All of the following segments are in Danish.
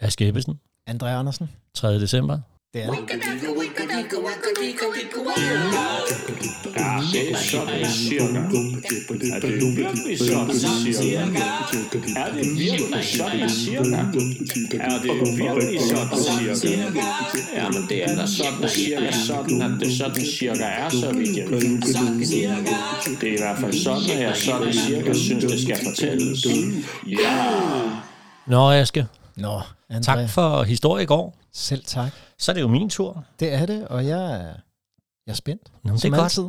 Mads Gebbesen, André Andersen. 3. december. Det er det. Ja, det er sådan cirka. Er det virkelig sådan cirka? Er det virkelig sådan cirka? Er det virkelig sådan cirka? Ja, men det er da sådan cirka sådan, at det sådan cirka er, så vidt jeg ved. Det er i hvert fald sådan, at jeg sådan cirka synes, det skal fortælles. Ja! Nå, Aske, Nå, André. tak for historie i går. Selv tak. Så er det jo min tur. Det er det, og jeg er, jeg er spændt. Nå, men det Som er godt. altid.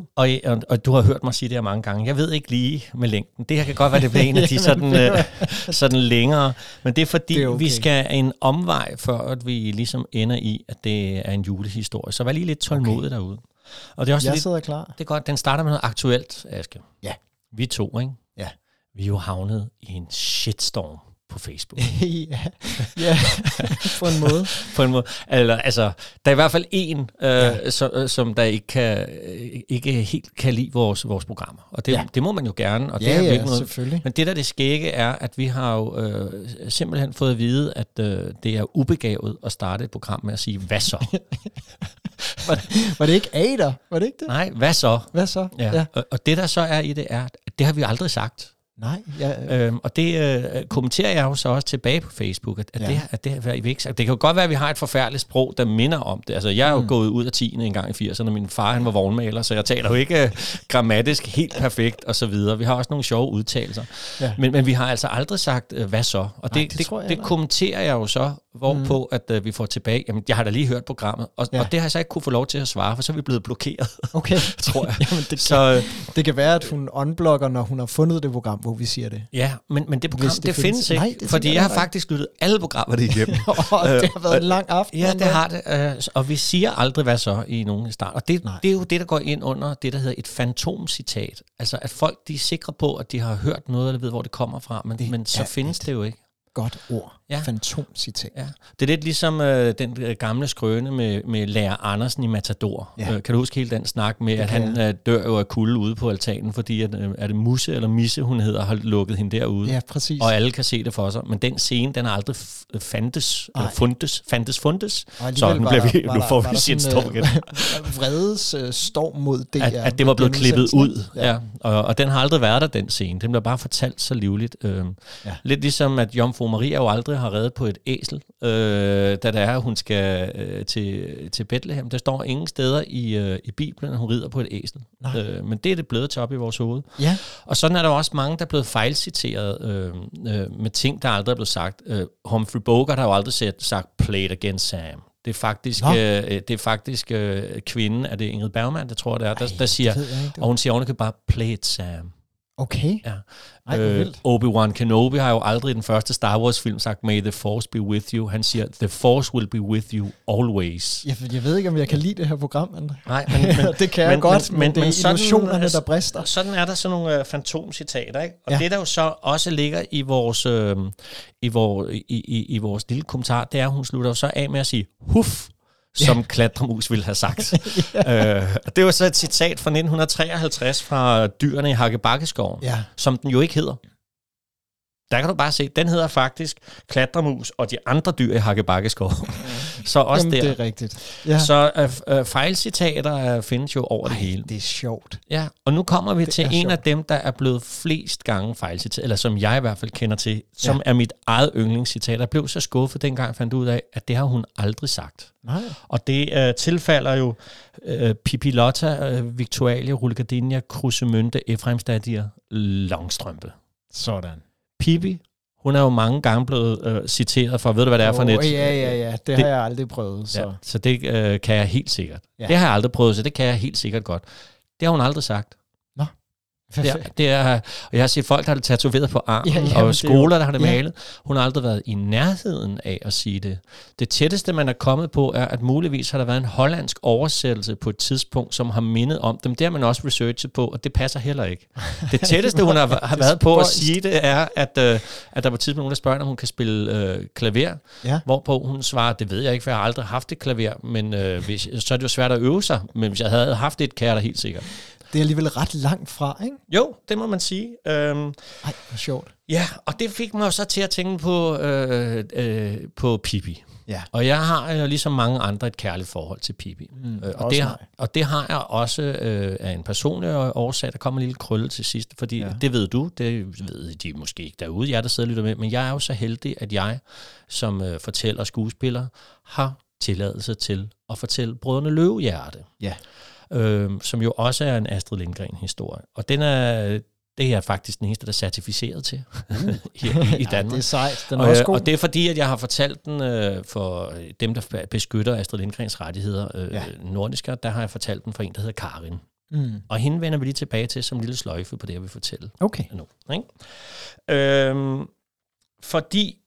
Og, og, og du har hørt mig sige det her mange gange. Jeg ved ikke lige med længden. Det her kan godt være, det bliver en af de sådan, øh, sådan længere. Men det er fordi, Det det er er okay. vi skal en omvej, før at vi ligesom ender i, at det er en julehistorie. Så vær lige lidt tålmodig okay. derude. Og det er også Jeg lidt, sidder klar. det er godt, den starter med noget aktuelt, Aske. Ja. Vi to, ikke? Ja. Vi er jo havnet i en shitstorm på Facebook. ja. ja, på en måde. på en måde. Eller, altså, der er i hvert fald en, øh, ja. som, som der ikke, kan, øh, ikke helt kan lide vores, vores programmer. Og det, Ja. ja. det må man jo gerne, og det Ja, er jo ja, ikke noget. selvfølgelig. Men det der det skægge er, at vi har jo øh, simpelthen fået at vide, at øh, det er ubegavet at starte et program med at sige, hvad så? Var, var det ikke Ader? Var det ikke det? Nej, hvad så? Hvad så? Ja. Ja. Og, og det der så er i det, er, at det har vi aldrig sagt. Nej, jeg, Øhm, og det øh, kommenterer jeg jo så også tilbage på Facebook, at, at, Ja. ja. det, her- at det, her, vi ikke, sagt. det kan jo godt være, at vi har et forfærdeligt sprog, der minder om det. Altså, jeg er jo mm. gået ud af 10. en gang i 80'erne, min far han var vognmaler, så jeg taler jo ikke øh, grammatisk helt perfekt og så videre. Vi har også nogle sjove udtalelser. Ja. Ja. Men, men vi har altså aldrig sagt, øh, hvad så? Og det, Nej, Nej, det det, det, tror jeg det heller ikke. kommenterer jeg jo så, hvorpå mm. at, øh, vi får tilbage, jamen, jeg har da lige hørt programmet, og, Ja. ja. og det har jeg så ikke kunne få lov til at svare, for så er vi blevet blokeret, okay. tror jeg. Jamen, det, så, Så, øh, det kan være, at hun unblocker, når hun har fundet det program, hvor vi siger det. Ja, men, men det program, Hvis det det, det findes. findes ikke, Nej, det Nej, det fordi tænker jeg jeg har heller ikke. faktisk lyttet alle programmer det igennem. Og det har været en lang aften. Øh, ja, det André. har det, øh, og vi siger aldrig, hvad så i nogen start. Og det, det er jo det, der går ind under det, der hedder et fantomcitat. Altså, at folk de er sikre på, at de har hørt noget, eller ved, hvor det kommer fra, men, det men er så findes det jo ikke. Godt ord. Ja. Ja. Fantomcitat. Ja. Det er lidt ligesom øh, den øh, gamle skrøne med, med lærer Andersen i Matador. Ja. Ja. Øh, kan du huske hele den snak med, at kan han øh, dør jo af kulde ude på altanen, fordi at, øh, er det Musse eller Misse, hun hedder, har lukket hende derude. Ja, præcis. og alle kan se det for sig. Men den scene, den har aldrig f- fandtes, Nej. eller fundes, fandtes, fundes. Og alligevel Så nu, var bliver vi, der- var nu der- får var vi der sit sådan, storm øh, igen. Vredes øh, storm mod DR. At, at det var blevet med klippet genudsendelsen. ud, ja. ja. Og, og den har aldrig været der, den scene. Den bliver bare fortalt så livligt. Øh, Ja. ja. Lidt ligesom, at Jomfru Maria jo aldrig har reddet på et æsel, øh, da det er, at hun skal øh, til, til Bethlehem. Der står ingen steder i, øh, i Bibelen, at hun rider på et æsel. Øh, men det er det blevet til op i vores hoved. Ja, Og sådan er der jo også mange, der er blevet fejlciteret øh, øh, med ting, der aldrig er blevet sagt. Øh, Humphrey Bogart har jo aldrig set, sagt, play it again, Sam. Det er faktisk, Nå. øh, det er faktisk øh, kvinden, er det Ingrid Bergman, det tror jeg, det er, der, der siger, ved jeg ikke. og hun siger ovenikøbet bare, play it, Sam. okay. Ja. Øh, Ej, hvor vildt. Obi-Wan Kenobi har jo aldrig i den første Star Wars-film sagt, may the force be with you. Han siger, the force will be with you always. Jeg, jeg ved ikke, om jeg kan lide det her program, André. Nej, men, men, Det kan jeg godt, men det er illusionerne, der brister. og Sådan er der sådan nogle øh, fantomcitater, ikke? Og Ja. ja. det, der jo så også ligger i vores, øh, i, vor, i, i, i vores lille kommentar, det er, at hun slutter jo så af med at sige, huf, som ja. klatremus ville have sagt. ja. øh, og det var så et citat fra 1953 fra Dyrene i Hakkebakkeskoven, Ja. som den jo ikke hedder. Der kan du bare se, den hedder faktisk Klatremus og de andre dyr i Hakkebakkeskoven. så også Jamen, der. det er rigtigt. Ja. Så øh, øh, fejlcitater øh, findes jo over Ej. det hele. Det er sjovt. Ja, og nu kommer vi Det til er en sjovt. af dem, der er blevet flest gange fejlciteret, eller som jeg i hvert fald kender til, som ja. er mit eget yndlingscitat. Jeg blev så skuffet dengang, fandt ud af, at det har hun aldrig sagt. Nej. Og det øh, tilfalder jo øh, Pipilotta, øh, Victualia, Rullegardinia, Krusemønte, Efraimstadier, Langstrømpe. Sådan. Pippi, hun er jo mange gange blevet øh, citeret for, ved du hvad det er for Åh, net? Ja, ja, ja. Det, det har jeg aldrig prøvet, så... Så, ja, så det øh, kan jeg helt sikkert. Ja. Ja. Det har jeg aldrig prøvet, så det kan jeg helt sikkert godt. Det har hun aldrig sagt. Det er, det er, og jeg har set folk, der har det tatoveret på armen, ja, Ja, jamen, det er og skoler, der har det jo- ja. malet. Hun har aldrig været i nærheden af at sige det. Det tætteste, man er kommet på, er, at muligvis har der været en hollandsk oversættelse på et tidspunkt, som har mindet om dem. Det har man også researchet på, og det passer heller ikke. Det tætteste, hun har, har været på at spøjst. sige det, er, at, øh, at der på et tidspunkt nogen, der spørger, hende, om hun kan spille øh, klaver. Ja. Hvorpå hun svarer, det ved jeg ikke, for jeg har aldrig haft et klaver, men øh, hvis, så er det jo svært at øve sig. Men hvis jeg havde haft et, kan jeg da helt sikkert. Det er alligevel ret langt fra, ikke? Jo, det må man sige. Øhm, Ej, hvor sjovt. ja, og det fik mig jo så til at tænke på, øh, øh, på Pippi. Ja. Og jeg har jo ligesom mange andre et kærligt forhold til Pippi. Mm, øh, og, også det, mig. har- og det har jeg også øh, af en personlig øh, årsag. Der kommer en lille krølle til sidst, fordi ja. det ved du, det ved de måske ikke derude, jeg der sidder og lytter med, men jeg er jo så heldig, at jeg som øh, fortæller og skuespiller har tilladelse til at fortælle Brødrene Løvehjerte Ja. øh, som jo også er en Astrid Lindgren-historie. Og den er, det er jeg faktisk den eneste, der er certificeret til i, i, i Uh. Det Danmark. er sejt. Den er og, også øh, god. og det er fordi, at jeg har fortalt den øh, for dem, der f- beskytter Astrid Lindgrens rettigheder øh, ja. Ja. nordisker, der har jeg fortalt den for en, der hedder Karin. Mm. Og hende vender vi lige tilbage til som en lille sløjfe på det, jeg vil fortælle Okay. nu. Ikke? Øhm, fordi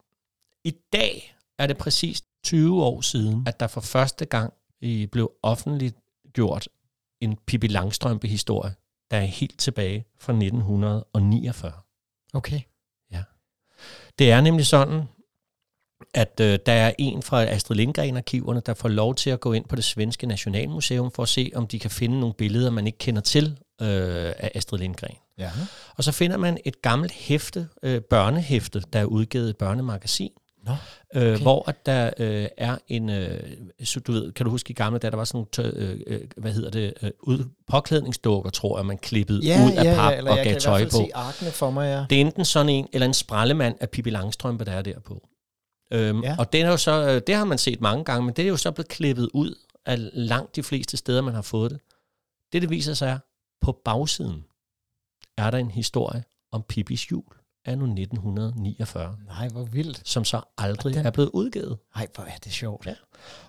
i dag er det præcis 20 år siden, at der for første gang øh, blev offentliggjort en Pippi Langstrømpe-historie, der er helt tilbage fra 1949. Okay. Det er nemlig sådan, at øh, der er en fra Astrid Lindgren-arkiverne, der får lov til at gå ind på det svenske nationalmuseum for at se, om de kan finde nogle billeder, man ikke kender til øh, af Astrid Lindgren. Ja. Og så finder man et gammelt hæfte, øh, børnehæfte, der er udgivet i et børnemagasin. Nå, okay. øh, hvor at der øh, er en, øh, så du ved, kan du huske i gamle dage, der var sådan nogle, tø- øh, øh, hvad hedder det, øh, ud, påklædningsdukker, tror jeg, man klippede Ja, ud af ja, pap ja, eller og jeg gav kan i tøj hvert på. fald se arkene for mig, ja. Det er enten sådan en, eller en sprallemand af Pippi Langstrømpe, der er derpå. Øhm, ja. Ja. Og den er jo så, øh, det har man set mange gange, men det er jo så blevet klippet ud af langt de fleste steder, man har fået det. Det, det viser sig er, på bagsiden er der en historie om Pippis jul anno 1949, Nej, hvor vildt. som så aldrig Og den- er blevet udgivet. Ej, hvor er det sjovt. Ja.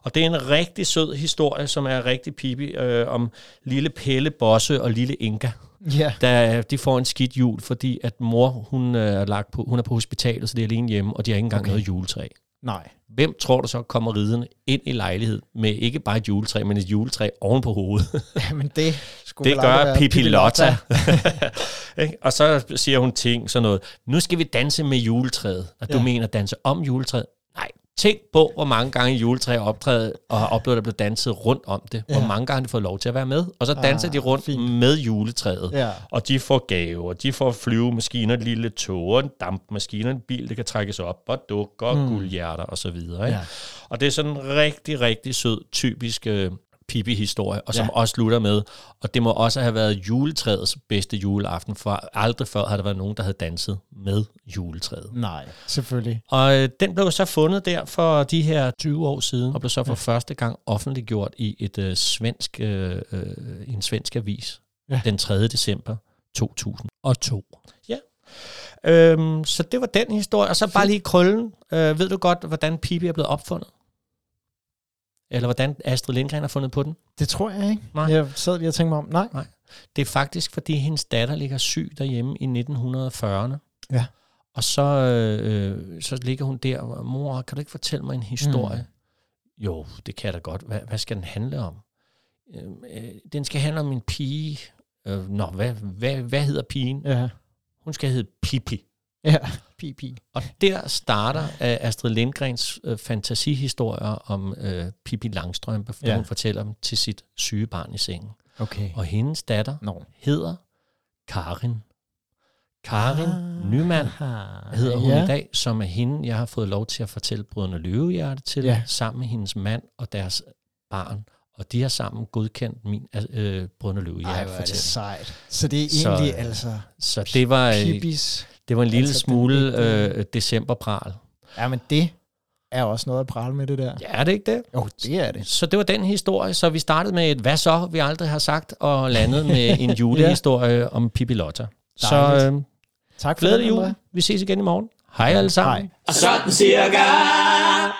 Og det er en rigtig sød historie, som er rigtig Pippi, øh, om lille Pelle, Bosse og lille Inga Ja. der, de får en skidt jul, fordi at mor hun øh, er, lagt på, hun er på hospitalet, så det er alene hjemme, og de har ikke engang okay. Okay. noget juletræ. Nej. Hvem tror du så kommer ridende ind i lejlighed med ikke bare et juletræ, men et juletræ oven på hovedet? Jamen det skulle Det vel gør aldrig være Pippi Lotta. Ikke? og så siger hun ting, sådan noget. Nu skal vi danse med juletræet. Og du Ja. mener danse om juletræet? Nej. Tænk på, hvor mange gange juletræet optræder og har oplevet, at der blev danset rundt om det. Hvor Ja. mange gange har de fået lov til at være med. Og så danser ah, Ah, de rundt fint. med juletræet. Ja. Og de får gaver, de får flyvemaskiner, et lille tog, og en dampmaskine, og en bil, der kan trækkes op, og dukker, og mm. guldhjerter og så videre. Ikke? Ja. Ja. Og det er sådan en rigtig, rigtig sød, typisk øh, Pippi-historie, og som ja. Ja. også slutter med, og det må også have været juletræets bedste juleaften, for aldrig før har der været nogen, der havde danset med juletræet. Nej, selvfølgelig. Og øh, den blev så fundet der for de her 20 år siden, og blev så for ja. første gang offentliggjort i et øh, svensk, øh, øh, i en svensk avis ja. Ja. den 3. december 2002. Ja. Øhm, så det var den historie. Og så bare lige krøllen. Øh, ved du godt, hvordan Pippi er blevet opfundet? Eller hvordan Astrid Lindgren har fundet på den? Det tror jeg ikke. Nej. Jeg sad lige og tænkte mig om, nej. Det er faktisk, fordi hendes datter ligger syg derhjemme i 1940'erne. Ja. Og så, øh, øh, så ligger hun der, og mor, kan du ikke fortælle mig en historie? Mm. Jo, det kan jeg da godt. Hvad, hvad skal den handle om? "Øhm, Øh, den skal handle om en pige. Øh, nå, hvad, hvad, hvad hedder pigen? Ja. Hun skal hedde Pippi. Ja, Pippi. Og der starter uh, Astrid Lindgrens uh, fantasihistorier om uh, Pippi Langstrømpe, for ja. Ja. hun fortæller dem til sit syge barn i sengen. Okay. Og hendes datter Nå. hedder Karin. Karin ah. Nyman hedder hun ja. i dag, som er hende, jeg har fået lov til at fortælle Brødrene Løvehjerte til, ja. Ja. sammen med hendes mand og deres barn. Og de har sammen godkendt min øh, Brødrene Ej, Løvehjerte hvor er det fortælling. sejt. Så det er Så- egentlig så, altså Så det var, øh, Pippis. det var en lille altså den smule vigtige- øh, decemberpral. Ja, men det er også noget at prale med det der. Ja, er det ikke det? Jo, det er det. Så det var den historie. Så vi startede med et hvad så, vi aldrig har sagt, og landede med en julehistorie ja. om Pippi Lotta. Så Dejligt. øh, Tak for glædelig det, jul. Vi ses igen i morgen. Hej alle sammen. Hej. Og sådan cirka.